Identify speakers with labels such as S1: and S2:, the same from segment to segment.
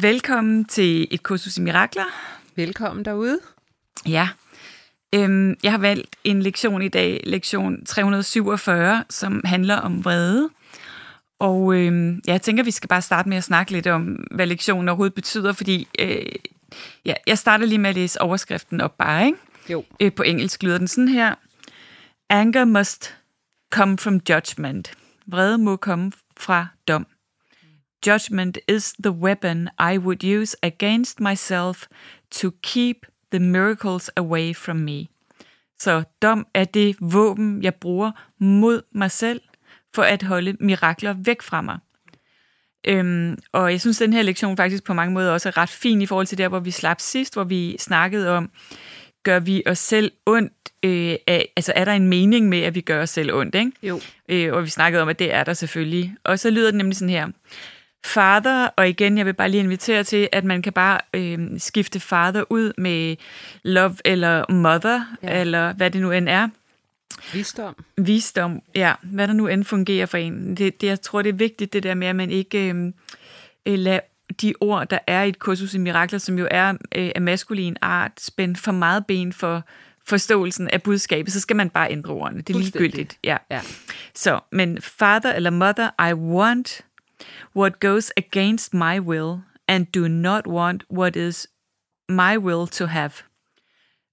S1: Velkommen til et kursus i mirakler.
S2: Velkommen derude.
S1: Ja. Øhm, jeg har valgt en lektion i dag, lektion 347, som handler om vrede. Og øhm, ja, jeg tænker, vi skal bare starte med at snakke lidt om, hvad lektionen overhovedet betyder, fordi øh, ja, jeg starter lige med at læse overskriften op bare, ikke?
S2: Jo.
S1: Øh, på engelsk lyder den sådan her. Anger must come from judgment. Vrede må komme fra dom. Judgment is the weapon I would use against myself to keep the miracles away from me. Så dom er det våben, jeg bruger mod mig selv for at holde mirakler væk fra mig. Øhm, og jeg synes, den her lektion faktisk på mange måder også er ret fin i forhold til der, hvor vi slap sidst, hvor vi snakkede om, gør vi os selv ondt? Øh, af, altså er der en mening med, at vi gør os selv ondt? Ikke?
S2: Jo.
S1: Øh, og vi snakkede om, at det er der selvfølgelig. Og så lyder det nemlig sådan her. Father, og igen, jeg vil bare lige invitere til, at man kan bare øh, skifte father ud med love eller mother, ja. eller hvad det nu end er
S2: Visdom.
S1: visdom, ja, hvad der nu end fungerer for en. Det, det, jeg tror, det er vigtigt, det der med, at man ikke øhm, øh, lader de ord, der er i et kursus i mirakler, som jo er øh, af maskulin art, spænde for meget ben for forståelsen af budskabet, så skal man bare ændre ordene. Det er
S2: Fuldstændig.
S1: ligegyldigt. Ja.
S2: Ja.
S1: Så, men father eller mother, I want what goes against my will, and do not want what is my will to have.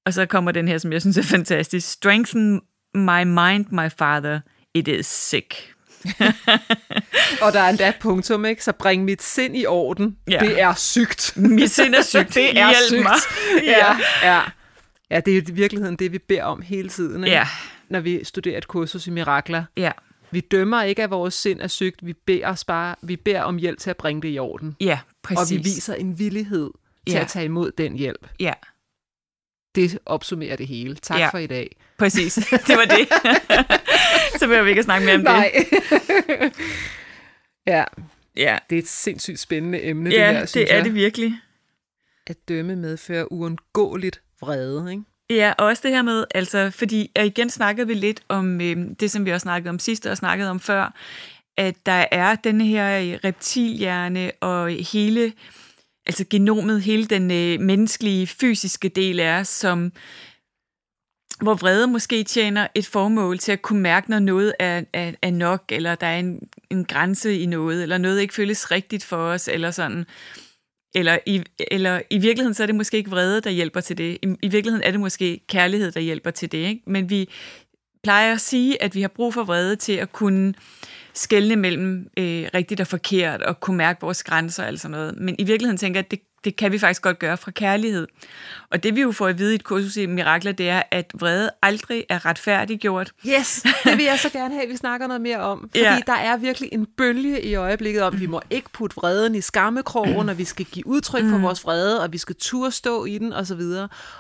S1: Og så kommer den her, som jeg synes er fantastisk. Strengthen my mind, my father. It is sick.
S2: Og der er endda et punktum, ikke? Så bring mit sind i orden.
S1: Ja.
S2: Det er sygt.
S1: Mit sind er sygt.
S2: det er
S1: Hjælp
S2: sygt.
S1: mig.
S2: ja. ja. Ja, det er i virkeligheden det, vi beder om hele tiden, ikke?
S1: Ja.
S2: når vi studerer et kursus i mirakler.
S1: Ja.
S2: Vi dømmer ikke, at vores sind er sygt. Vi beder, os bare, vi beder om hjælp til at bringe det i orden.
S1: Ja, præcis.
S2: Og vi viser en villighed til
S1: Ja.
S2: at tage imod den hjælp.
S1: Ja,
S2: Det opsummerer det hele. Tak
S1: Ja.
S2: for i dag.
S1: præcis. Det var det. så behøver vi ikke at snakke mere om det.
S2: ja,
S1: Ja,
S2: det er et sindssygt spændende emne, det
S1: ja
S2: her,
S1: det,
S2: synes
S1: er
S2: jeg.
S1: det virkelig.
S2: At dømme medfører uundgåeligt vrede, ikke?
S1: Ja, og også det her med, altså, fordi og igen snakkede vi lidt om øh, det, som vi også snakkede om sidst og snakkede om før, at der er den her øh, reptilhjerne og hele, altså genomet, hele den øh, menneskelige, fysiske del af os, som hvor vrede måske tjener et formål til at kunne mærke, når noget er, er, er nok, eller der er en, en grænse i noget, eller noget ikke føles rigtigt for os, eller sådan. Eller i, eller i virkeligheden, så er det måske ikke vrede, der hjælper til det. I, I virkeligheden er det måske kærlighed, der hjælper til det. Ikke? Men vi plejer at sige, at vi har brug for vrede til at kunne skelne mellem øh, rigtigt og forkert, og kunne mærke vores grænser og alt sådan noget. Men i virkeligheden tænker jeg, at det, det kan vi faktisk godt gøre fra kærlighed. Og det vi jo får at vide i et kursus i Mirakler, det er, at vrede aldrig er retfærdiggjort.
S2: Yes, det vil jeg så gerne have, at vi snakker noget mere om. Fordi
S1: Ja.
S2: der er virkelig en bølge i øjeblikket om, at vi må ikke putte vreden i skammekrogen, og vi skal give udtryk
S1: Mm.
S2: for vores vrede, og vi skal turde stå i den, osv.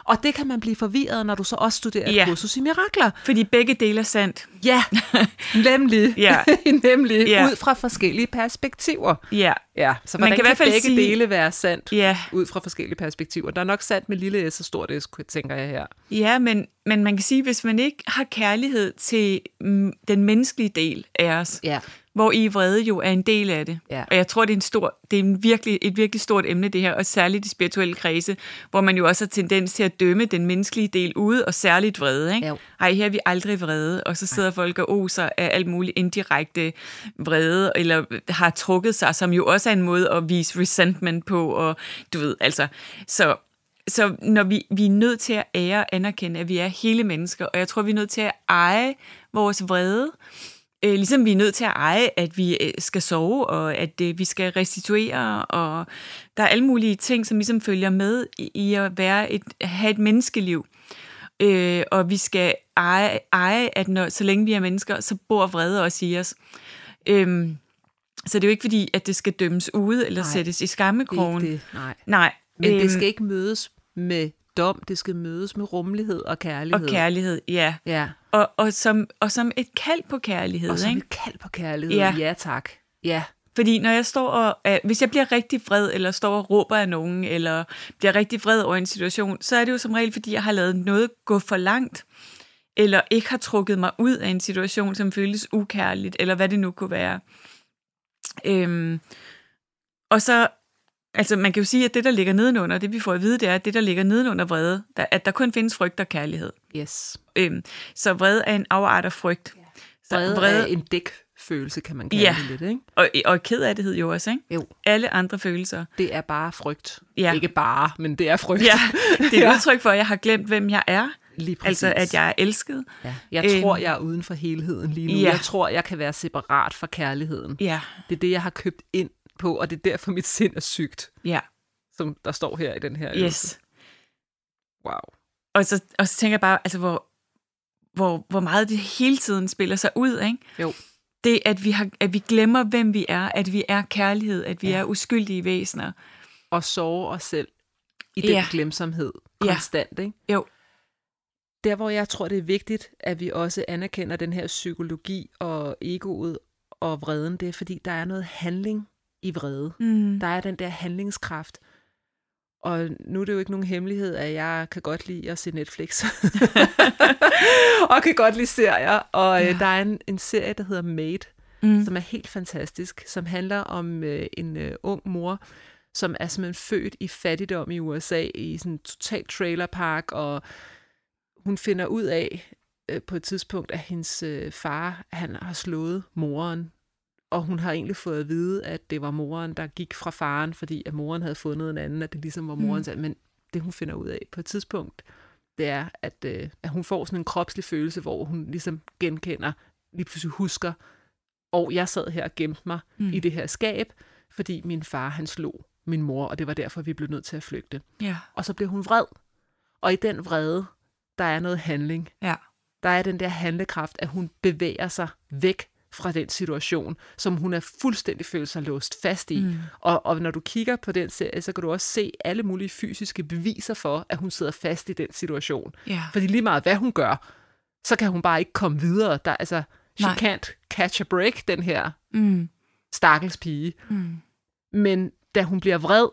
S2: Og det kan man blive forvirret, når du så også studerer
S1: Ja.
S2: ja. kursus i mirakler.
S1: Fordi begge dele er sandt.
S2: Ja, nemlig.
S1: Ja.
S2: nemlig.
S1: Ja.
S2: Ud fra forskellige perspektiver.
S1: Ja,
S2: Ja, så
S1: Man
S2: hvordan man
S1: kan
S2: kan,
S1: i hvert fald
S2: begge
S1: sige-
S2: dele være sandt?
S1: ja.
S2: Ud fra forskellige perspektiver. Der er nok sandt med lille s og stort s, tænker jeg her.
S1: Ja, men, men man kan sige, hvis man ikke har kærlighed til mm, den menneskelige del af os,
S2: Ja.
S1: hvor I vrede jo er en del af det.
S2: Ja.
S1: Og jeg tror, det er, en stor, det er en virkelig, et virkelig stort emne, det her, og særligt i spirituelle kredse, hvor man jo også har tendens til at dømme den menneskelige del ude, og særligt vrede. Ikke?
S2: Jo.
S1: Ej, her er vi aldrig vrede, og så sidder folk og oser af alt muligt indirekte vrede, eller har trukket sig, som jo også er en måde at vise resentment på, og du ved, altså, så så når vi, vi er nødt til at ære og anerkende, at vi er hele mennesker, og jeg tror, vi er nødt til at eje vores vrede, øh, ligesom vi er nødt til at eje, at vi øh, skal sove, og at øh, vi skal restituere, og der er alle mulige ting, som ligesom følger med i, i at være et, have et menneskeliv. Øh, og vi skal eje, eje at når, så længe vi er mennesker, så bor vrede også i os. Øhm, så det er jo ikke fordi, at det skal dømmes ude eller
S2: Nej,
S1: Nej, sættes i
S2: Det er
S1: skammekrogen.
S2: ikke det. Nej.
S1: Nej.
S2: Men
S1: øhm,
S2: det skal ikke mødes med dom, det skal mødes med rummelighed og
S1: Og
S2: kærlighed.
S1: kærlighed, ja.
S2: Ja,
S1: Og, og, som, og som et kald på kærlighed.
S2: og som
S1: ikke?
S2: et kald på kærlighed. Ja.
S1: Ja.
S2: ja, tak. Ja,
S1: Fordi når jeg står og, øh, hvis jeg bliver rigtig vred, eller står og råber af nogen, eller bliver rigtig vred over en situation, så er det jo som regel, fordi jeg har lavet noget gå for langt, eller ikke har trukket mig ud af en situation, som føles ukærligt, eller hvad det nu kunne være. Øhm, og så, altså man kan jo sige, at det, der ligger nedenunder, det vi får at vide, det er, at det, der ligger nedenunder vrede, der, at der kun findes frygt og kærlighed.
S2: yes.
S1: Øhm, så vrede er en afart af frygt. Så
S2: Vrede, vrede. er en dækfølelse, kan man kalde
S1: Ja.
S2: det lidt, ikke?
S1: og, og ked af det hed jo også, ikke?
S2: Jo,
S1: Alle andre følelser.
S2: det er bare frygt.
S1: Ja.
S2: Ikke bare, men det er frygt.
S1: Ja, det er et
S2: Ja.
S1: udtryk for, at jeg har glemt, hvem jeg er.
S2: Lige præcis.
S1: Altså, at jeg er elsket.
S2: Ja. Jeg
S1: Øhm.
S2: tror, jeg er uden for helheden lige nu. Ja.
S1: Ja.
S2: Jeg tror, jeg kan være separat fra kærligheden.
S1: Ja,
S2: Det er det, jeg har købt ind på, og det er derfor, mit sind er sygt,
S1: ja,
S2: som der står her i den her øvelse.
S1: yes.
S2: Wow.
S1: Og så, og så tænker jeg bare, altså, hvor, hvor, hvor meget det hele tiden spiller sig ud, ikke?
S2: Jo.
S1: Det, at vi, har, at vi glemmer, hvem vi er, at vi er kærlighed, at vi ja. er uskyldige væsener.
S2: Og sove os selv i den ja.
S1: Ja.
S2: glemsomhed
S1: Ja.
S2: konstant, ikke?
S1: Jo,
S2: Der, hvor jeg tror, det er vigtigt, at vi også anerkender den her psykologi og egoet og vreden, det er, fordi der er noget handling i vrede.
S1: mm.
S2: Der er den der handlingskraft. Og nu er det jo ikke nogen hemmelighed, at jeg kan godt lide at se Netflix. og kan godt lide serier. Og ja. der er en, en serie, der hedder Made, mm.
S1: Mm.
S2: som er helt fantastisk, som handler om øh, en øh, ung mor, som er simpelthen født i fattigdom i USA, i sådan en total trailerpark, og hun finder ud af øh, på et tidspunkt, at hendes øh, far han har slået moren, og hun har egentlig fået at vide, at det var moren, der gik fra faren, fordi at moren havde fundet en anden, at det ligesom var morens, mm. men det hun finder ud af på et tidspunkt, det er, at, øh, at hun får sådan en kropslig følelse, hvor hun ligesom genkender, lige pludselig husker, og jeg sad her og gemte mig mm.
S1: Mm.
S2: i det her skab, fordi min far han slog min mor, og det var derfor, vi blev nødt til at flygte.
S1: Ja,
S2: Og så blev hun vred. Og i den vrede, der er noget handling.
S1: ja,
S2: Der er den der handlekraft, at hun bevæger sig væk fra den situation, som hun er fuldstændig følt sig låst fast i. Mm. Og, og når du kigger på den serie, så kan du også se alle mulige fysiske beviser for, at hun sidder fast i den situation.
S1: ja.
S2: Fordi lige meget hvad hun gør, så kan hun bare ikke komme videre. Der, altså, she
S1: Nej.
S2: can't catch a break, den her
S1: Mm.
S2: stakkels pige.
S1: Mm.
S2: Men da hun bliver vred,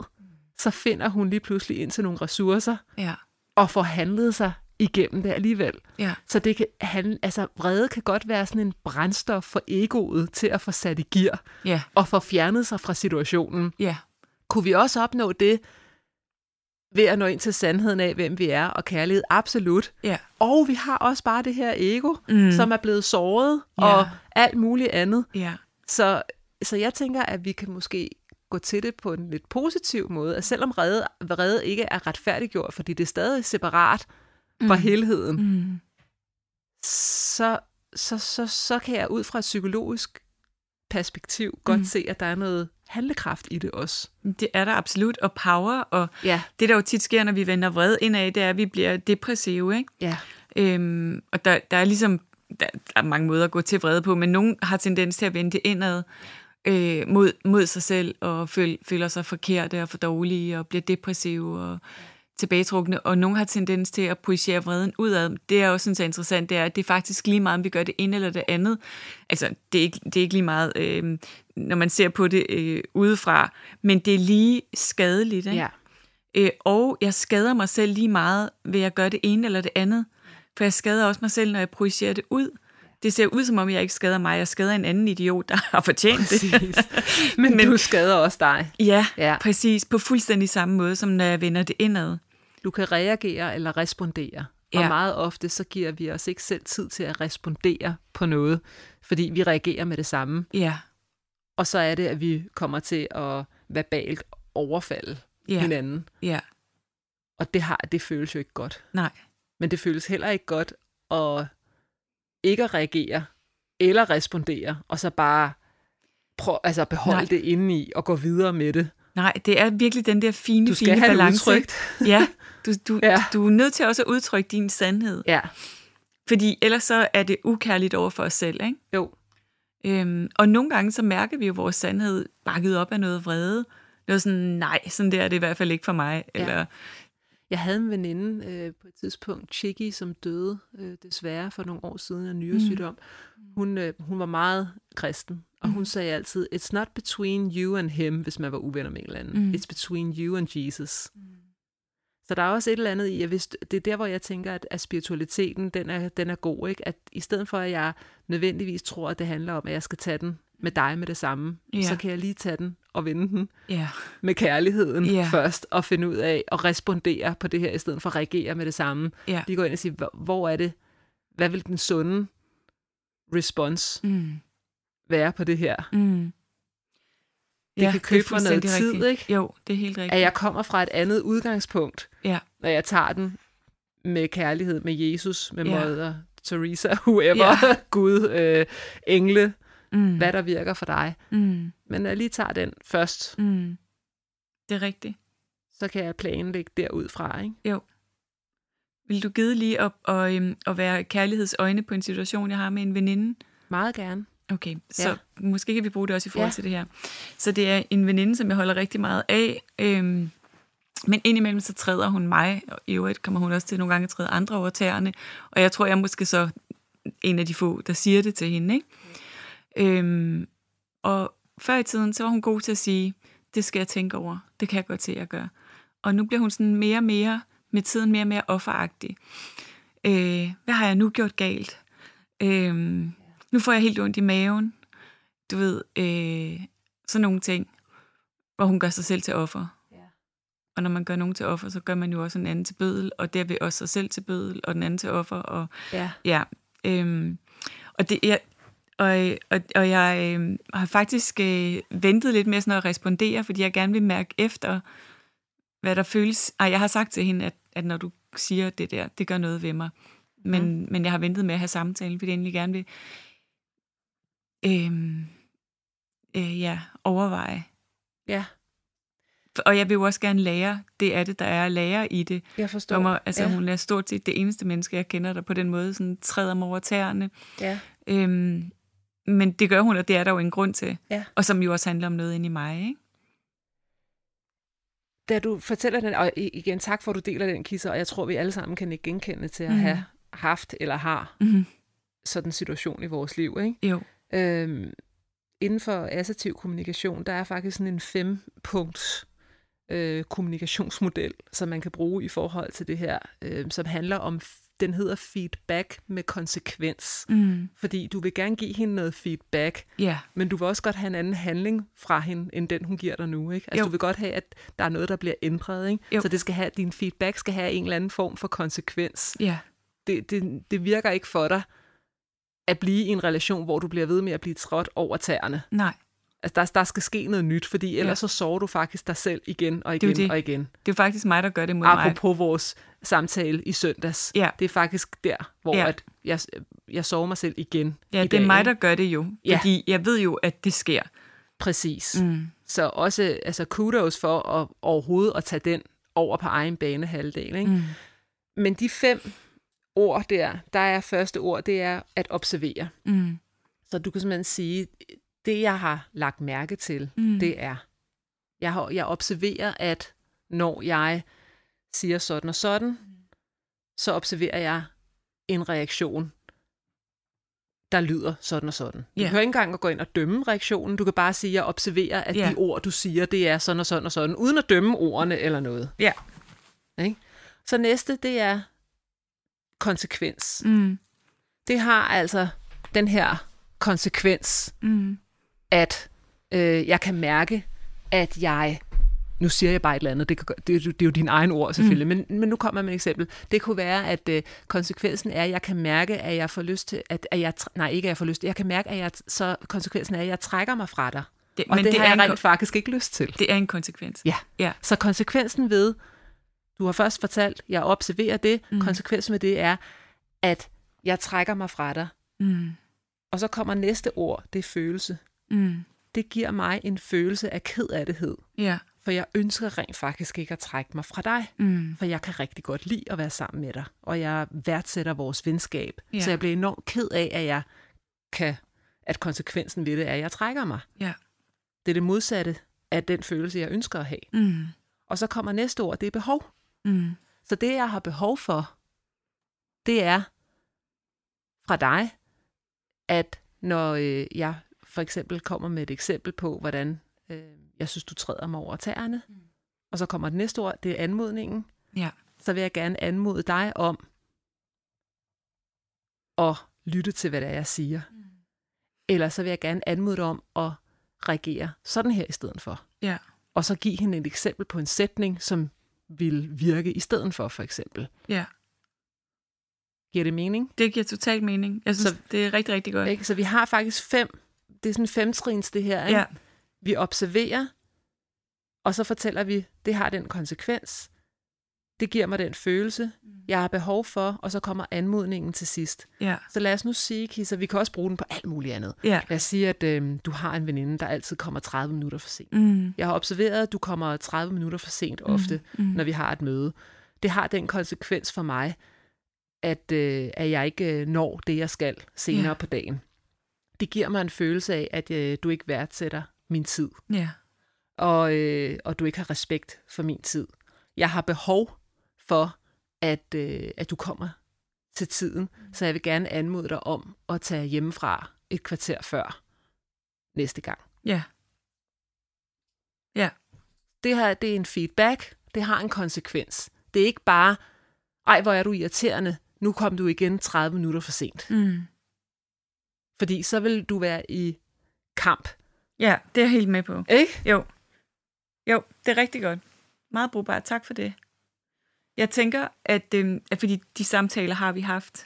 S2: så finder hun lige pludselig ind til nogle ressourcer
S1: Ja,
S2: og får handlet sig igennem det alligevel.
S1: ja,
S2: Så det kan handle, altså vrede kan godt være sådan en brændstof for egoet til at få sat i gear
S1: ja,
S2: og få fjernet sig fra situationen.
S1: ja.
S2: Kunne vi også opnå det ved at nå ind til sandheden af, hvem vi er og kærlighed? Absolut.
S1: Ja,
S2: Og vi har også bare det her ego, mm.
S1: Mm.
S2: som er blevet såret
S1: Ja.
S2: og alt muligt andet.
S1: ja,
S2: Så, så jeg tænker, at vi kan måske gå til det på en lidt positiv måde, at selvom redde, redde ikke er retfærdiggjort, fordi det er stadig separat fra
S1: Mm.
S2: helheden,
S1: mm.
S2: så, så, så, så kan jeg ud fra et psykologisk perspektiv godt mm.
S1: Mm.
S2: se, at der er noget handlekraft i det også.
S1: Det er der absolut, og power, og
S2: Ja,
S1: det, der jo tit sker, når vi vender vred indad, det er, at vi bliver depressive, ikke?
S2: ja.
S1: Øhm, og der, der er ligesom der, der er mange måder at gå til vrede på, men nogen har tendens til at vende det indad øh, mod, mod sig selv og føl, føler sig forkerte og for dårlige og bliver depressive og tilbagetrukne, og nogen har tendens til at projicere vreden udad. Det, jeg også synes er interessant, det er, at det er faktisk lige meget, om vi gør det ene eller det andet. Altså, det er ikke, det er ikke lige meget, øh, når man ser på det øh, udefra, men det er lige skadeligt. Ikke?
S2: ja.
S1: Øh, og jeg skader mig selv lige meget ved at gøre det ene eller det andet. For jeg skader også mig selv, når jeg projicerer det ud. Det ser ud, som om jeg ikke skader mig. Jeg skader en anden idiot, der har fortjent det.
S2: Præcis. Men, Men
S1: Men-
S2: du skader også dig.
S1: Ja,
S2: Ja.
S1: ja, præcis. På fuldstændig samme måde, som når jeg vender det indad.
S2: Du kan reagere eller respondere. Ja. Og
S1: Ja.
S2: meget ofte, så giver vi os ikke selv tid til at respondere på noget, fordi vi reagerer med det samme.
S1: Ja,
S2: Og så er det, at vi kommer til at verbalt overfalde
S1: ja,
S2: hinanden.
S1: ja.
S2: Og det, har, det føles jo ikke godt.
S1: Nej.
S2: Men det føles heller ikke godt at ikke at reagere eller respondere, og så bare prøv, altså beholde
S1: Nej.
S2: det inde i og gå videre med det.
S1: Nej, det er virkelig den der fine,
S2: Du skal
S1: fine
S2: have det
S1: balance.
S2: udtrykt.
S1: Ja, du, du,
S2: Ja.
S1: ja, du er nødt til også at udtrykke din sandhed,
S2: Ja,
S1: fordi ellers så er det ukærligt over for os selv, ikke?
S2: jo.
S1: Øhm, og nogle gange så mærker vi jo vores sandhed bakket op af noget vrede. Det var sådan, nej, sådan der er det i hvert fald ikke for mig.
S2: Ja.
S1: Eller,
S2: Jeg havde en veninde øh, på et tidspunkt, Chicky, som døde øh, desværre for nogle år siden af nyresygdom. Mm. Hun, øh, hun var meget kristen, og hun sagde altid, it's not between you and him, hvis man var uvenner med en eller anden. Mm.
S1: Mm.
S2: It's between you and Jesus. Mm. Så der er også et eller andet i, at hvis, det er der, hvor jeg tænker, at, at spiritualiteten, den er, den er god. Ikke? At i stedet for, at jeg nødvendigvis tror, at det handler om, at jeg skal tage den med dig med det samme,
S1: Ja.
S2: så kan jeg lige tage den og vende den
S1: ja.
S2: med kærligheden yeah.
S1: Ja.
S2: først, og finde ud af at respondere på det her, i stedet for at reagere med det samme.
S1: Ja.
S2: Lige gå ind og sige, hvor- hvor er det, hvad vil den sunde respons
S1: Mm,
S2: være på det her?
S1: mm.
S2: Det kan købe mig noget
S1: fuldstændig
S2: tid,
S1: rigtigt.
S2: ikke?
S1: Jo, det er helt rigtigt.
S2: At jeg kommer fra et andet udgangspunkt,
S1: Ja.
S2: når jeg tager den med kærlighed, med Jesus, med
S1: Ja.
S2: yeah. Mother Teresa, whoever, yeah. Gud, øh, engle,
S1: Mm,
S2: hvad der virker for dig.
S1: Mm,
S2: Men når jeg lige tager den først,
S1: mm. Det er rigtigt.
S2: så kan jeg planlægge derudfra, ikke?
S1: Vil du gide lige at, og, øhm, at være kærlighedsøjne på en situation, jeg har med en veninde?
S2: Meget gerne.
S1: Okay, så
S2: Ja.
S1: ja. måske kan vi bruge det også i forhold
S2: Ja.
S1: ja. til det her. Så det er en veninde, som jeg holder rigtig meget af. Øhm, men indimellem så træder hun mig, og i øvrigt kommer hun også til nogle gange at træde andre over tæerne. Og jeg tror, jeg er måske så en af de få, der siger det til hende. Ikke? Øhm, og før i tiden, så var hun god til at sige, det skal jeg tænke over, det kan jeg godt se, at gøre. Og nu bliver hun sådan mere og mere, med tiden mere og mere offeragtig. Øh, hvad har jeg nu gjort galt? Øh, nu får jeg helt ondt i maven. Du ved, øh, sådan nogle ting, hvor hun gør sig selv til offer. Og når man gør nogen til offer, så gør man jo også en anden til bødel, og derved også sig selv til bødel, og den anden til offer. Og,
S2: Ja.
S1: ja, øhm, og, det, jeg, og, øh, og, og jeg øhm, har faktisk øh, ventet lidt med sådan at respondere, fordi jeg gerne vil mærke efter, hvad der føles. Ej, jeg har sagt til hende, at, at når du siger det der, det gør noget ved mig. Men, mm. men jeg har ventet med at have samtalen, fordi jeg egentlig gerne vil øhm, øh, ja, overveje,
S2: Ja,
S1: og jeg vil jo også gerne lære det af det, der er at lære i det.
S2: jeg forstår.
S1: Hun, altså,
S2: ja.
S1: hun er stort set det eneste menneske, jeg kender, der på den måde sådan, træder mig over tæerne.
S2: Ja.
S1: Øhm, men det gør hun, og det er der jo en grund til.
S2: Ja.
S1: Og som jo også handler om noget inde i mig. Ikke?
S2: da du fortæller den, og i- igen tak for, at du deler den, Kisser, og jeg tror, vi alle sammen kan ikke genkende til at
S1: Mhm.
S2: have haft eller har
S1: Mm-hmm.
S2: sådan en situation i vores liv. Ikke?
S1: Jo.
S2: Øhm, inden for assertiv kommunikation, der er faktisk sådan en fempunkts øh, kommunikationsmodel, som man kan bruge i forhold til det her, øh, som handler om, f- den hedder feedback med konsekvens.
S1: Mm.
S2: Fordi du vil gerne give hende noget feedback,
S1: Ja.
S2: men du vil også godt have en anden handling fra hende, end den, hun giver dig nu. Ikke? Altså,
S1: Jo.
S2: du vil godt have, at der er noget, der bliver ændret. Ikke?
S1: Jo.
S2: Så det skal have, din feedback skal have en eller anden form for konsekvens.
S1: Ja.
S2: Det, det, det virker ikke for dig at blive i en relation, hvor du bliver ved med at blive trådt over tæerne.
S1: Nej.
S2: Altså, der, der skal ske noget nyt, fordi ellers
S1: Ja.
S2: så sover du faktisk dig selv igen og
S1: er jo
S2: igen
S1: det.
S2: og igen.
S1: Det er jo faktisk mig, der gør det mod mig.
S2: Apropos vores samtale i søndags.
S1: Ja.
S2: Det er faktisk der, hvor
S1: Ja.
S2: at jeg, jeg sover mig selv igen
S1: Ja,
S2: i
S1: det er
S2: dag,
S1: mig,
S2: ikke?
S1: der gør det jo.
S2: Ja.
S1: Fordi jeg ved jo, at det sker.
S2: Præcis.
S1: Mm.
S2: Så også altså kudos for at, overhovedet at tage den over på egen banehalvdel. Ikke?
S1: Mm.
S2: Mm. Men de fem ord der, der er første ord, det er at observere.
S1: Mm.
S2: Så du kan simpelthen sige, det jeg har lagt mærke til, mm.
S1: Mm.
S2: det er, jeg, har, jeg observerer, at når jeg siger sådan og sådan,
S1: Mm.
S2: så observerer jeg en reaktion, der lyder sådan og sådan. Du
S1: Ja.
S2: behøver ikke engang at gå ind og dømme reaktionen, du kan bare sige, at jeg observerer, at
S1: Ja.
S2: de ord, du siger, det er sådan og sådan og sådan, uden at dømme ordene eller noget.
S1: Ja.
S2: Ikke? Så næste, det er konsekvens.
S1: Mm.
S2: Det har altså den her konsekvens,
S1: Mm.
S2: at øh, jeg kan mærke, at jeg... Nu siger jeg bare et eller andet, det, kan, gø- det, er jo- det er jo dine egne ord selvfølgelig, mm. men, men nu kommer jeg med et eksempel. Det kunne være, at øh, konsekvensen er, at jeg kan mærke, at jeg får lyst til... At, at jeg, tr- nej, ikke at jeg får lyst til. Jeg kan mærke, at jeg... Så konsekvensen er, at jeg trækker mig fra dig.
S1: Det,
S2: Og
S1: men
S2: det,
S1: det,
S2: det har
S1: er
S2: jeg
S1: en,
S2: rent
S1: kon-
S2: faktisk ikke lyst til.
S1: det er en konsekvens.
S2: Ja.
S1: Ja.
S2: Så konsekvensen ved Du har først fortalt, jeg observerer det. Mm. Konsekvensen med det er, at jeg trækker mig fra dig.
S1: Mm.
S2: Og så kommer næste ord, det er følelse.
S1: Mm.
S2: Det giver mig en følelse af kedærdighed,
S1: Ja.
S2: for jeg ønsker rent faktisk ikke at trække mig fra dig.
S1: Mm.
S2: For jeg kan rigtig godt lide at være sammen med dig, og jeg værdsætter vores venskab.
S1: Ja.
S2: Ja. Så jeg bliver enormt ked af, at jeg kan, at konsekvensen ved det er, at jeg trækker mig.
S1: Ja.
S2: Det er det modsatte af den følelse, jeg ønsker at have.
S1: Mm.
S2: Og så kommer næste ord, det er behov.
S1: Mm.
S2: Så det, jeg har behov for, det er fra dig, at når øh, jeg for eksempel kommer med et eksempel på, hvordan øh, jeg synes, du træder mig over tæerne, mm. og så kommer det næste ord, det er anmodningen,
S1: Ja.
S2: så vil jeg gerne anmode dig om at lytte til, hvad det er, jeg siger. Mm. Eller så vil jeg gerne anmode dig om at reagere sådan her i stedet for.
S1: Ja.
S2: Og så give hende et eksempel på en sætning, som vil virke i stedet for, for eksempel.
S1: Ja.
S2: Giver det mening?
S1: Det giver total mening. Jeg synes,
S2: Så-
S1: så, det er rigtig, rigtig godt.
S2: Ikke? Så vi har faktisk fem, det er sådan femtrins det her. Ikke?
S1: Ja.
S2: Vi observerer, og så fortæller vi, det har den konsekvens, det giver mig den følelse,
S1: Mm.
S2: jeg har behov for, og så kommer anmodningen til sidst.
S1: Ja.
S2: Så lad os nu sige, Kisa, vi kan også bruge den på alt muligt andet.
S1: Ja.
S2: Lad os sige, at øh, du har en veninde, der altid kommer 30 minutter for sent.
S1: Mm.
S2: Jeg har observeret, at du kommer 30 minutter for sent ofte, mm. når vi har et møde. Det har den konsekvens for mig, at, øh, at jeg ikke øh, når det, jeg skal senere
S1: Ja.
S2: på dagen. Det giver mig en følelse af, at øh, du ikke værdsætter min tid,
S1: Ja.
S2: og, øh, og du ikke har respekt for min tid. Jeg har behov for, at, øh, at du kommer til tiden, så jeg vil gerne anmode dig om at tage hjemmefra et kvarter før næste gang.
S1: Ja. Ja.
S2: det her det er en feedback, det har en konsekvens. Det er ikke bare, ej, hvor er du irriterende, nu kom du igen 30 minutter for sent.
S1: Mm.
S2: Fordi så vil du være i kamp,
S1: Ja, det er jeg helt med på.
S2: ikke?
S1: Jo. Jo, det er rigtig godt. Meget brugbart. Tak for det. Jeg tænker, at, øhm, at fordi de samtaler har vi haft.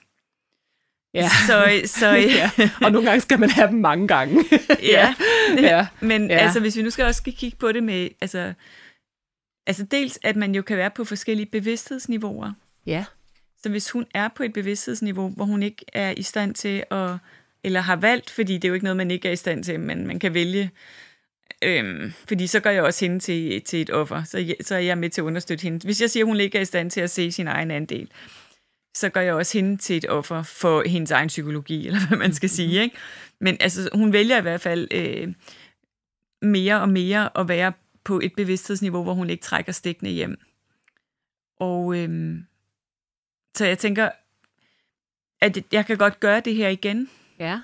S2: Ja.
S1: Så, så ja.
S2: Og nogle gange skal man have dem mange gange.
S1: ja.
S2: ja.
S1: Men
S2: Ja.
S1: ja. altså, hvis vi nu skal også skal kigge på det med, altså, altså dels, at man jo kan være på forskellige bevidsthedsniveauer.
S2: ja.
S1: Så hvis hun er på et bevidsthedsniveau, hvor hun ikke er i stand til at, eller har valgt, fordi det er jo ikke noget, man ikke er i stand til, men man kan vælge, øhm, fordi så gør jeg også hende til, til et offer, så, jeg, så er jeg med til at understøtte hende. Hvis jeg siger, at hun ikke er i stand til at se sin egen andel, så gør jeg også hende til et offer for hendes egen psykologi, eller hvad man skal sige. Ikke? Men altså, hun vælger i hvert fald øh, mere og mere at være på et bevidsthedsniveau, hvor hun ikke trækker stikkene hjem. Og øhm, så jeg tænker, at jeg kan godt gøre det her igen.
S2: Ja.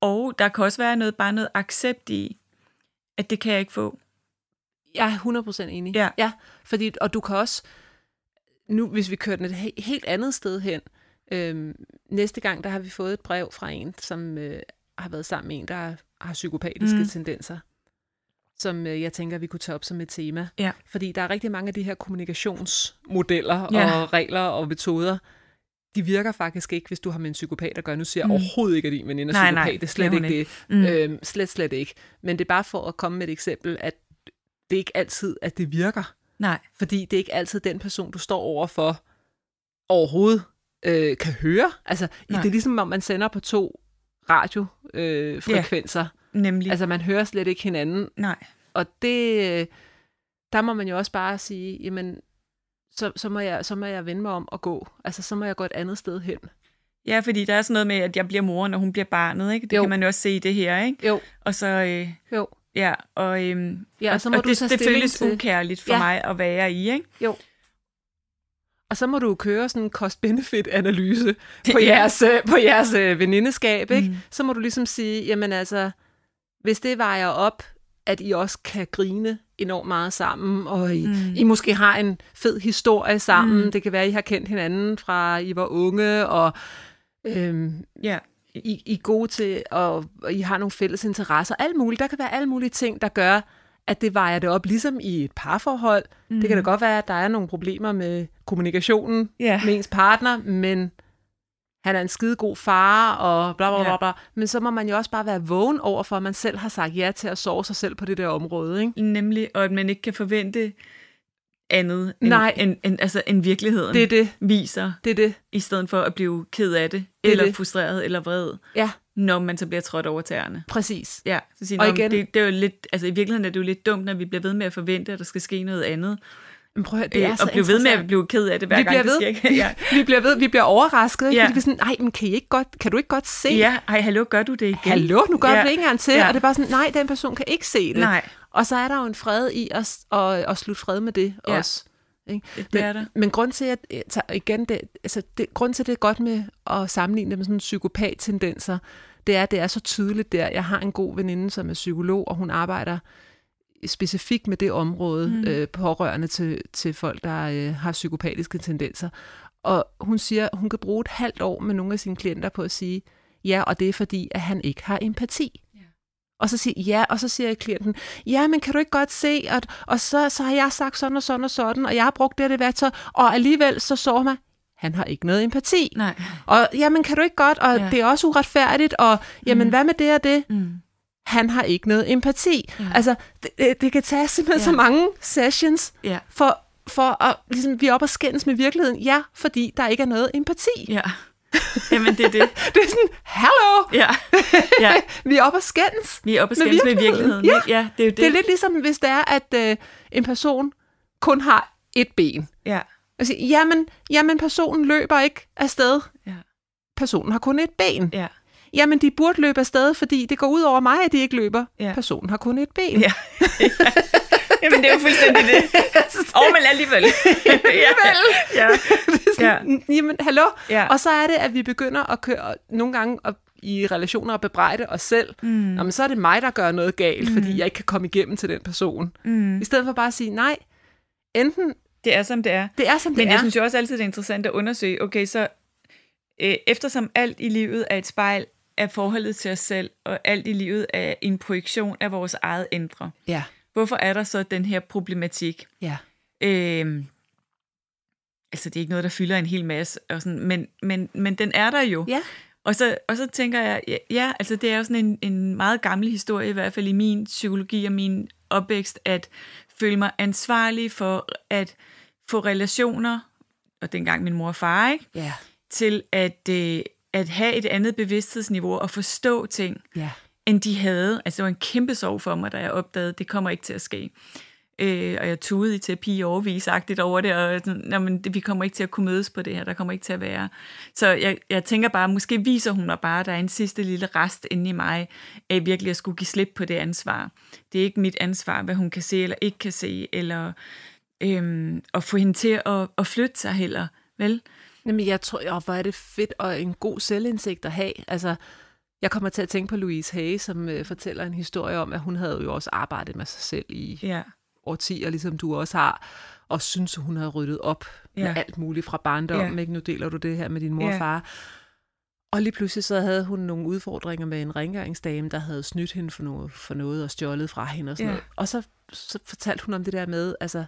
S1: Og der kan også være noget, bare noget accept i, at det kan jeg ikke få.
S2: Jeg er 100% enig.
S1: Ja.
S2: ja fordi, og du kan også, nu hvis vi kører den et he- helt andet sted hen, øhm, næste gang, der har vi fået et brev fra en, som øh, har været sammen med en, der har psykopatiske
S1: Mm.
S2: mm. tendenser, som øh, jeg tænker, vi kunne tage op som et tema.
S1: Ja.
S2: Fordi der er rigtig mange af de her kommunikationsmodeller
S1: Ja.
S2: ja. og regler og metoder, de virker faktisk ikke, hvis du har med en psykopat at gøre. Nu siger jeg
S1: Mm.
S2: mm. overhovedet ikke, at din veninde er
S1: Nej,
S2: psykopat.
S1: nej,
S2: det er
S1: det er
S2: slet
S1: hun
S2: ikke det.
S1: Mm.
S2: Mm. Øhm, slet, slet ikke. Men det er bare for at komme med et eksempel, at det er ikke altid, at det virker.
S1: Nej.
S2: Fordi det er ikke altid den person, du står overfor, overhovedet øh, kan høre. Altså,
S1: Nej.
S2: Nej. det er ligesom, om man sender på to radiofrekvenser. Øh, frekvenser.
S1: Nemlig. Altså,
S2: Altså, man hører slet ikke hinanden.
S1: nej.
S2: Og det, øh, der må man jo også bare sige, jamen, så, så, må jeg, så må jeg vende mig om at gå. Altså, så må jeg gå et andet sted hen.
S1: Ja, fordi der er sådan noget med, at jeg bliver moren, og hun bliver barnet, ikke? Det
S2: Jo.
S1: kan man jo også se i det her, ikke?
S2: Jo,
S1: Og så, øh,
S2: jo.
S1: ja, og, øhm,
S2: Ja, og så må
S1: og
S2: du
S1: det,
S2: tage
S1: det
S2: stilling
S1: føles
S2: til-
S1: ukærligt for ja.
S2: Ja.
S1: mig at være i, ikke?
S2: Jo. Og så må du jo køre sådan en cost-benefit-analyse på
S1: Ja.
S2: jeres, øh, på jeres øh, venindeskab, ikke?
S1: Mm.
S2: Mm. Så må du ligesom sige, jamen altså, hvis det vejer op, at I også kan grine enormt meget sammen, og I,
S1: Mm.
S2: mm. I måske har en fed historie sammen,
S1: Mm.
S2: mm. det kan være, I har kendt hinanden fra I var unge, og øhm,
S1: Ja.
S2: I, I er gode til, og, og I har nogle fælles interesser, alt muligt. Der kan være alle mulige ting, der gør, at det vejer det op, ligesom i et parforhold. Mm. Det kan da godt være, at der er nogle problemer med kommunikationen
S1: Ja.
S2: med ens partner, men han er en skide god far, og bla bla
S1: Ja.
S2: bla, bla. Men så må man jo også bare være vågen over for, at man selv har sagt ja til at sove sig selv på det der område, ikke?
S1: Nemlig, og at man ikke kan forvente, andet end,
S2: Nej.
S1: end, end, altså, end virkeligheden
S2: Det er det.
S1: viser,
S2: Det er det.
S1: i stedet for at blive ked af det,
S2: er
S1: eller
S2: det.
S1: frustreret, eller vred,
S2: Ja,
S1: når man så bliver trådt over tæerne.
S2: præcis.
S1: Ja, så siger,
S2: Og
S1: og igen,
S2: igen-
S1: det, det er jo lidt, altså i virkeligheden er det jo lidt dumt, når vi bliver ved med at forvente, at der skal ske noget andet.
S2: Men prøv at høre, det
S1: Det
S2: er så
S1: og blive ved med at
S2: interessant.
S1: blive ked af det, hver
S2: vi
S1: gang
S2: bliver
S1: det
S2: ved.
S1: sker. ikke? ja.
S2: vi bliver ved, vi bliver overrasket, ikke?
S1: Ja.
S2: Ja. fordi vi er sådan, nej, men kan, I ikke godt, kan du ikke godt se?
S1: ja, ej, hallo, gør du det igen?
S2: Hallo, nu gør ja.
S1: ja.
S2: du det ikke engang til,
S1: Ja.
S2: ja. og det er bare sådan, nej, den person kan ikke se det.
S1: Nej,
S2: Og så er der jo en fred i at, at, at slutte fred med det
S1: Ja.
S2: ja. også. Ikke?
S1: det
S2: Men,
S1: er der.
S2: men grund til, at jeg tager- igen, det, altså det, grund til, at det er godt med at sammenligne det med sådan psykopat-tendenser, det er, at det er så tydeligt der. Jeg har en god veninde, som er psykolog, og hun arbejder specifikt med det område
S1: Mm.
S2: mm. øh, pårørende til, til folk, der øh, har psykopatiske tendenser. Og hun siger, at hun kan bruge et halvt år med nogle af sine klienter på at sige, ja, og det er fordi, at han ikke har empati.
S1: Ja.
S2: Og så siger ja, og så siger klienten, ja, men kan du ikke godt se, at, og så, så har jeg sagt sådan og sådan og sådan, og jeg har brugt det og det værktøj, og alligevel så sår mig, han har ikke noget empati.
S1: Nej.
S2: Og jamen, kan du ikke godt, og
S1: Ja.
S2: ja. det er også uretfærdigt, og jamen,
S1: Mm.
S2: mm. hvad med det og det?
S1: Mm.
S2: Han har ikke noget empati.
S1: Ja.
S2: Ja. Altså, det, det, det kan tage simpelthen
S1: Mm. Ja.
S2: ja. så mange sessions,
S1: Ja,
S2: for, for at ligesom, vi er oppe og skændes med virkeligheden. Ja, fordi der ikke er noget empati.
S1: ja. Jamen, det er det.
S2: Det er sådan, hallo,
S1: Ja, ja.
S2: vi er oppe og skændes.
S1: Vi er oppe og
S2: Med
S1: skændes med virkeligheden.
S2: virkeligheden.
S1: ikke? Ja, det er jo det.
S2: Det er lidt ligesom, hvis det er, at øh, en person kun har et ben.
S1: Ja,
S2: Altså, jamen, jamen, personen løber ikke afsted.
S1: ja,
S2: Personen har kun et ben.
S1: ja.
S2: Jamen, de burde løbe afsted, fordi det går ud over mig, at de ikke løber.
S1: Ja.
S2: Personen har kun et ben.
S1: Ja. Jamen, det er jo fuldstændig det. Og men alligevel. alligevel. Ja, ja.
S2: Sådan, Jamen, hallo?
S1: Ja.
S2: Og så er det, at vi begynder at køre nogle gange op i relationer og bebrejde os selv. Mm. Jamen, så er det mig, der gør noget galt, mm. fordi jeg ikke kan komme igennem til den person.
S1: Mm.
S2: I stedet for bare at sige, nej, enten
S1: Det er, som det er.
S2: det er, som det
S1: Men
S2: er.
S1: jeg synes jo også altid, det er interessant at undersøge, okay, så øh, eftersom alt i livet er et spejl af forholdet til os selv, og alt i livet er en projektion af vores eget indre,
S2: Ja,
S1: hvorfor er der så den her problematik?
S2: ja.
S1: Øh, altså, det er ikke noget, der fylder en hel masse, og sådan, men, men, men den er der jo.
S2: Ja,
S1: Og så, og så tænker jeg, ja, ja, altså det er jo sådan en, en meget gammel historie, i hvert fald i min psykologi og min opvækst, at føle mig ansvarlig for at få relationer, og dengang min mor og far, ikke?
S2: ja,
S1: til at, øh, at have et andet bevidsthedsniveau og forstå ting,
S2: ja.
S1: end de havde. Altså det var en kæmpe sorg for mig, da jeg opdagede, at det kommer ikke til at ske. Øh, og jeg tudede i terapi i overvisagtigt over det, og sådan, "Nå, men det, vi kommer ikke til at kunne mødes på det her, der kommer ikke til at være. Så jeg, jeg tænker bare, måske viser hun mig bare, at der er en sidste lille rest inde i mig, af virkelig at skulle give slip på det ansvar. Det er ikke mit ansvar, hvad hun kan se eller ikke kan se, eller øhm, at få hende til at, at flytte sig heller, vel?
S2: Jamen, jeg tror, åh, hvor er det fedt og en god selvindsigt at have. Altså, jeg kommer til at tænke på Louise Hay, som øh, fortæller en historie om, at hun havde jo også arbejdet med sig selv i
S1: Ja,
S2: årtier, ligesom du også har, og synes, at hun havde ryddet op ja.
S1: Ja.
S2: med alt muligt fra barndommen.
S1: Ja.
S2: Ja. Ikke? Nu deler du det her med din mor
S1: Ja.
S2: og far. Og lige pludselig så havde hun nogle udfordringer med en rengøringsdame, der havde snydt hende for noget, for noget og stjålet fra hende og sådan
S1: Ja.
S2: ja. noget. Og så, så fortalte hun om det der med, altså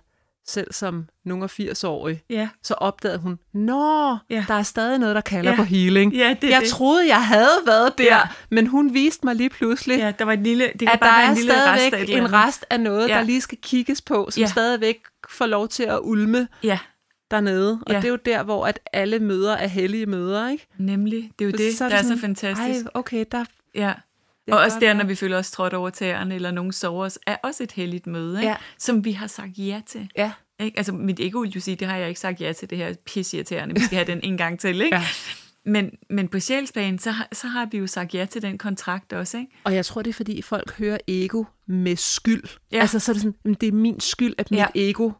S2: selv som nogle 80-årige,
S1: ja,
S2: så opdagede hun, nå,
S1: Ja.
S2: ja. der er stadig noget, der kalder
S1: Ja.
S2: ja. på healing.
S1: ja det er
S2: jeg
S1: det.
S2: troede, jeg havde været der,
S1: Ja.
S2: ja. men hun viste mig lige pludselig,
S1: Ja, der var et lille, det kan
S2: at der
S1: bare være
S2: er
S1: en lille rest af et
S2: stadigvæk
S1: eller
S2: en
S1: andet.
S2: rest af noget,
S1: Ja.
S2: ja. der lige skal kigges på, som
S1: Ja.
S2: ja. stadigvæk får lov til at ulme
S1: Ja,
S2: dernede. Og
S1: Ja.
S2: ja. det er jo der, hvor at alle møder er hellige møder, ikke?
S1: nemlig. Det er jo det,
S2: Så
S1: der
S2: er
S1: er
S2: det
S1: så
S2: sådan,
S1: fantastisk.
S2: Ej, okay, der...
S1: Ja.
S2: jeg
S1: Og også
S2: gør
S1: der,
S2: det.
S1: når vi føler os trådt over tæerne, eller nogen sover os, er også et heldigt møde, ikke?
S2: Ja.
S1: som vi har sagt ja til.
S2: Ja.
S1: Ikke? Altså, mit ego vil jo sige, det har jeg ikke sagt ja til, det her pisseirriterende, vi skal have den en gang til. Ikke?
S2: Ja.
S1: Men, men på sjælsplanen, så, har- så har vi jo sagt ja til den kontrakt også. Ikke?
S2: Og jeg tror, det er, fordi folk hører ego med skyld.
S1: Ja.
S2: Ja. Altså, så er det sådan, "Jamen, det er min skyld, at mit
S1: Ja.
S2: ja. ego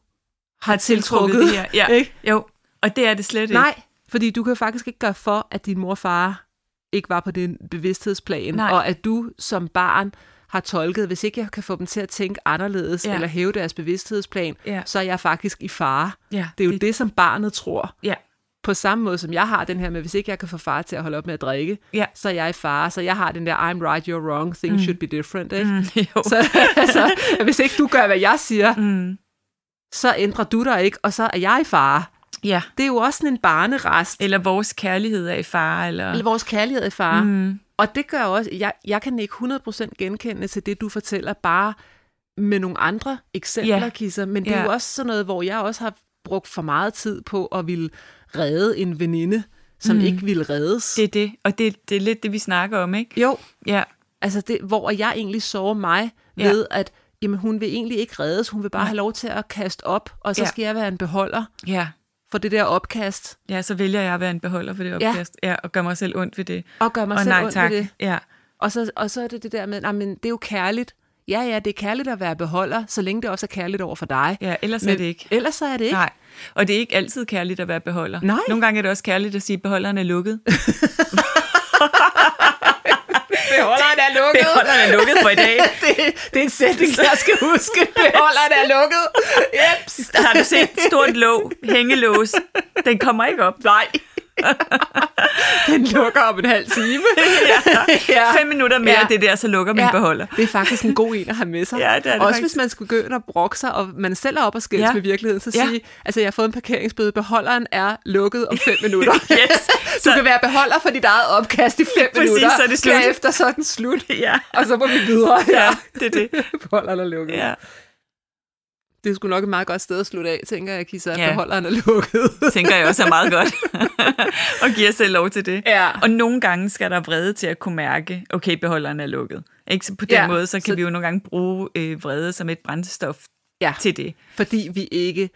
S2: har
S1: Tiltrukket
S2: tiltrukket
S1: det her. Ja.
S2: Ikke?
S1: Jo, og det er det slet ikke.
S2: Nej, fordi du kan faktisk ikke gøre for, at din mor og far ikke var på den bevidsthedsplan,
S1: Nej.
S2: og at du som barn har tolket, hvis ikke jeg kan få dem til at tænke anderledes,
S1: Ja.
S2: eller hæve deres bevidsthedsplan,
S1: Ja.
S2: så er jeg faktisk i fare.
S1: Ja,
S2: Det er jo det, det som barnet tror.
S1: Ja.
S2: På samme måde som jeg har den her med, hvis ikke jeg kan få far til at holde op med at drikke,
S1: Ja.
S2: så er jeg i fare. Så jeg har den der, I'm right, you're wrong, things should be different. Ikke?
S1: Mm, jo.
S2: Så altså, hvis ikke du gør, hvad jeg siger,
S1: Mm.
S2: så ændrer du dig ikke, og så er jeg i fare.
S1: Ja.
S2: Det er jo også sådan en barnerest.
S1: Eller vores kærlighed er i fare. Eller...
S2: Eller vores kærlighed i fare. Mm.
S1: Mm.
S2: Og det gør også, jeg, jeg kan ikke 100% genkende til det, du fortæller, bare med nogle andre eksempler,
S1: Ja.
S2: yeah. Kisser, men det er
S1: Ja.
S2: jo også sådan noget, hvor jeg også har brugt for meget tid på at ville redde en veninde, som
S1: Mm.
S2: mm. ikke ville reddes.
S1: Det er det, og det, det er lidt det, vi snakker om, ikke?
S2: Jo,
S1: Ja,
S2: altså det, hvor jeg egentlig sover mig
S1: Ja.
S2: ved, at jamen, hun vil egentlig ikke reddes, hun vil bare have lov til at kaste op, og så
S1: Ja.
S2: skal jeg være en beholder
S1: ja.
S2: for det der opkast,
S1: Ja, så vælger jeg at være en beholder for det
S2: Ja.
S1: opkast, ja. ja og gør mig selv ondt ved det.
S2: og gøre mig
S1: og
S2: selv
S1: nej,
S2: ondt
S1: tak.
S2: ved det.
S1: Ja,
S2: Og så, og så er det det der med, nej, men det er jo kærligt. Ja, ja, det er kærligt at være beholder, så længe det også er kærligt over for dig.
S1: ja, ellers er
S2: Men
S1: det ikke.
S2: Ellers så er det ikke.
S1: Nej, og det er ikke altid kærligt at være beholder.
S2: Nej.
S1: Nogle gange er det også kærligt at sige, at beholderen er lukket.
S2: Beholderen er lukket.
S1: Beholderen er lukket for i dag.
S2: det, det er en sætning, jeg skal huske. Beholderen er lukket. Jeps.
S1: Har du set stort låg, hængelås? Den kommer ikke op. Nej.
S2: Den lukker om en halv time.
S1: Ja. Fem minutter mere ja.
S2: Ja.
S1: det der, så lukker min ja. beholder.
S2: det er faktisk en god en at have med sig.
S1: Ja, det er det
S2: Også
S1: faktisk.
S2: hvis man skulle begynde at brokke sig, og man selv er op og skændes
S1: Ja.
S2: ja. med virkeligheden, så
S1: Ja.
S2: sige, altså jeg har fået en parkeringsbøde, beholderen er lukket om fem minutter.
S1: Yes.
S2: Du kan være beholder for dit eget opkast i fem
S1: Præcis,
S2: minutter.
S1: så er det slut.
S2: Derefter så er den slut.
S1: Ja.
S2: Og så må vi videre.
S1: ja, det er det.
S2: beholderen er lukket.
S1: Ja.
S2: Det er sgu nok et meget godt sted at slutte af, tænker jeg, Kisa, at
S1: Ja.
S2: beholderen er lukket.
S1: Tænker jeg også er meget godt. og giver selv lov til det.
S2: ja.
S1: Og nogle gange skal der vrede til at kunne mærke, okay, beholderen er lukket. Ikke? Så på den ja,
S2: Ja,
S1: måde, så kan så...
S2: så-
S1: vi jo nogle gange bruge øh, vrede som et brændstof
S2: Ja.
S1: til det.
S2: fordi vi ikke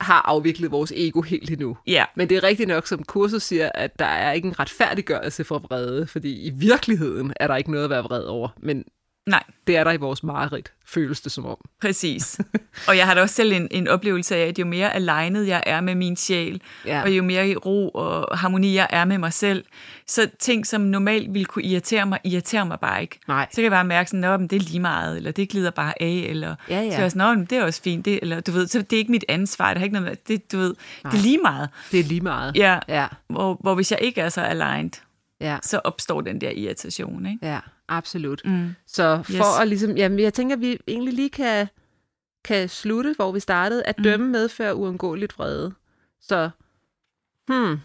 S2: har afviklet vores ego helt endnu.
S1: Ja,
S2: Men det er rigtigt nok, som kurset siger, at der er ikke en retfærdiggørelse for vrede, fordi i virkeligheden er der ikke noget at være vred over, men
S1: nej,
S2: det er der i vores mareridt, føles det som om.
S1: præcis. og jeg har da også selv en, en oplevelse af, at jo mere alignet jeg er med min sjæl,
S2: Ja.
S1: og jo mere i ro og harmoni jeg er med mig selv, så ting, som normalt ville kunne irritere mig, irriterer mig bare ikke.
S2: Nej.
S1: Så kan jeg bare mærke sådan, at det er lige meget, eller det glider bare af, eller
S2: Ja, ja.
S1: så er jeg sådan, "Nå, men det er også fint, det, eller du ved, så det er ikke mit ansvar, det har ikke noget med, det, du ved, det er lige meget.
S2: Det er lige meget.
S1: Ja.
S2: Ja,
S1: Hvor, hvor hvis jeg ikke er så aligned,
S2: ja,
S1: så opstår den der irritation, ikke?
S2: ja absolut. Mm. Så for
S1: Yes.
S2: yes. at ligesom, jamen jeg tænker, at vi egentlig lige kan, kan slutte, hvor vi startede,
S1: Mm.
S2: at dømme medfører uundgåeligt vrede. Så, hmm,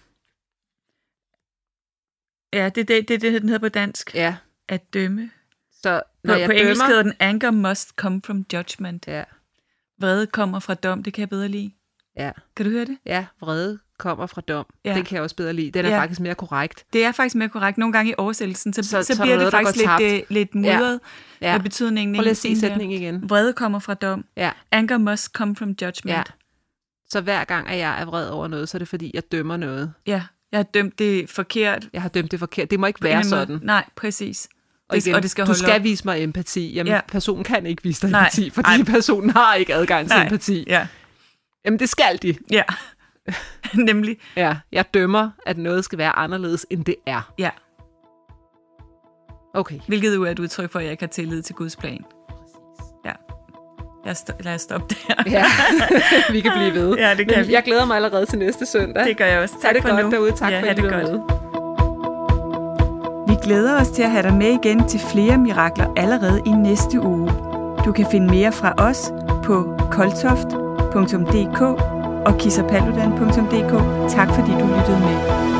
S1: Ja, det er det, det, det, den hedder på dansk.
S2: ja,
S1: At dømme.
S2: så
S1: På,
S2: når jeg
S1: på engelsk
S2: dømmer...
S1: hedder den, anger must come from judgment.
S2: Ja,
S1: Vrede kommer fra dom, det kan jeg bedre lide.
S2: ja.
S1: Kan du høre det?
S2: Ja, vrede kommer fra dom.
S1: Ja.
S2: Ja. Den kan jeg også bedre lide. Den er
S1: Ja.
S2: ja. faktisk mere korrekt.
S1: Det er faktisk mere korrekt. Nogle gange i oversættelsen, så, så,
S2: Så-
S1: så,
S2: så er
S1: bliver
S2: der
S1: det
S2: noget, der
S1: faktisk
S2: går
S1: lidt, øh, lidt mudret, ja.
S2: Ja.
S1: hvad betydningen
S2: Prøv lige at
S1: egentlig
S2: sige
S1: er.
S2: sætningen igen.
S1: Vrede kommer fra dom.
S2: Ja,
S1: Anger must come from
S2: ja.
S1: judgment.
S2: Så hver gang, at jeg er vred over noget, så er det fordi, jeg dømmer noget.
S1: ja. Jeg har dømt det forkert.
S2: Jeg har dømt det forkert. Det må ikke
S1: på en
S2: være
S1: eller anden
S2: sådan.
S1: måde. Nej, præcis.
S2: Og, igen,
S1: og det skal
S2: du
S1: holde
S2: skal
S1: op.
S2: vise mig empati. Jamen,
S1: Ja.
S2: ja. personen kan ikke vise dig
S1: Nej.
S2: empati, fordi
S1: Ej.
S2: personen har ikke adgang til
S1: Nej.
S2: empati.
S1: Ja,
S2: Jamen, det skal de.
S1: ja. nemlig.
S2: Ja, jeg dømmer, at noget skal være anderledes, end det er.
S1: Ja.
S2: Okay.
S1: Hvilket jo er et udtryk for, at jeg ikke har tillid til Guds plan. Ja. Lad os, sto- lad os stoppe der.
S2: Ja, vi kan blive ved.
S1: Ja, det kan
S2: Men
S1: vi.
S2: jeg glæder mig allerede til næste søndag.
S1: Det gør jeg også.
S2: Ha'
S1: Tak
S2: det
S1: for
S2: godt
S1: nu.
S2: derude. Tak
S1: ja,
S2: for,
S1: ha'
S2: at I
S1: det godt.
S2: lyttede
S1: Vi
S2: med.
S1: glæder os til at have dig med igen til flere mirakler allerede i næste uge. Du kan finde mere fra os på koltoft.dk og kissapaludan.dk. Tak fordi du lyttede med.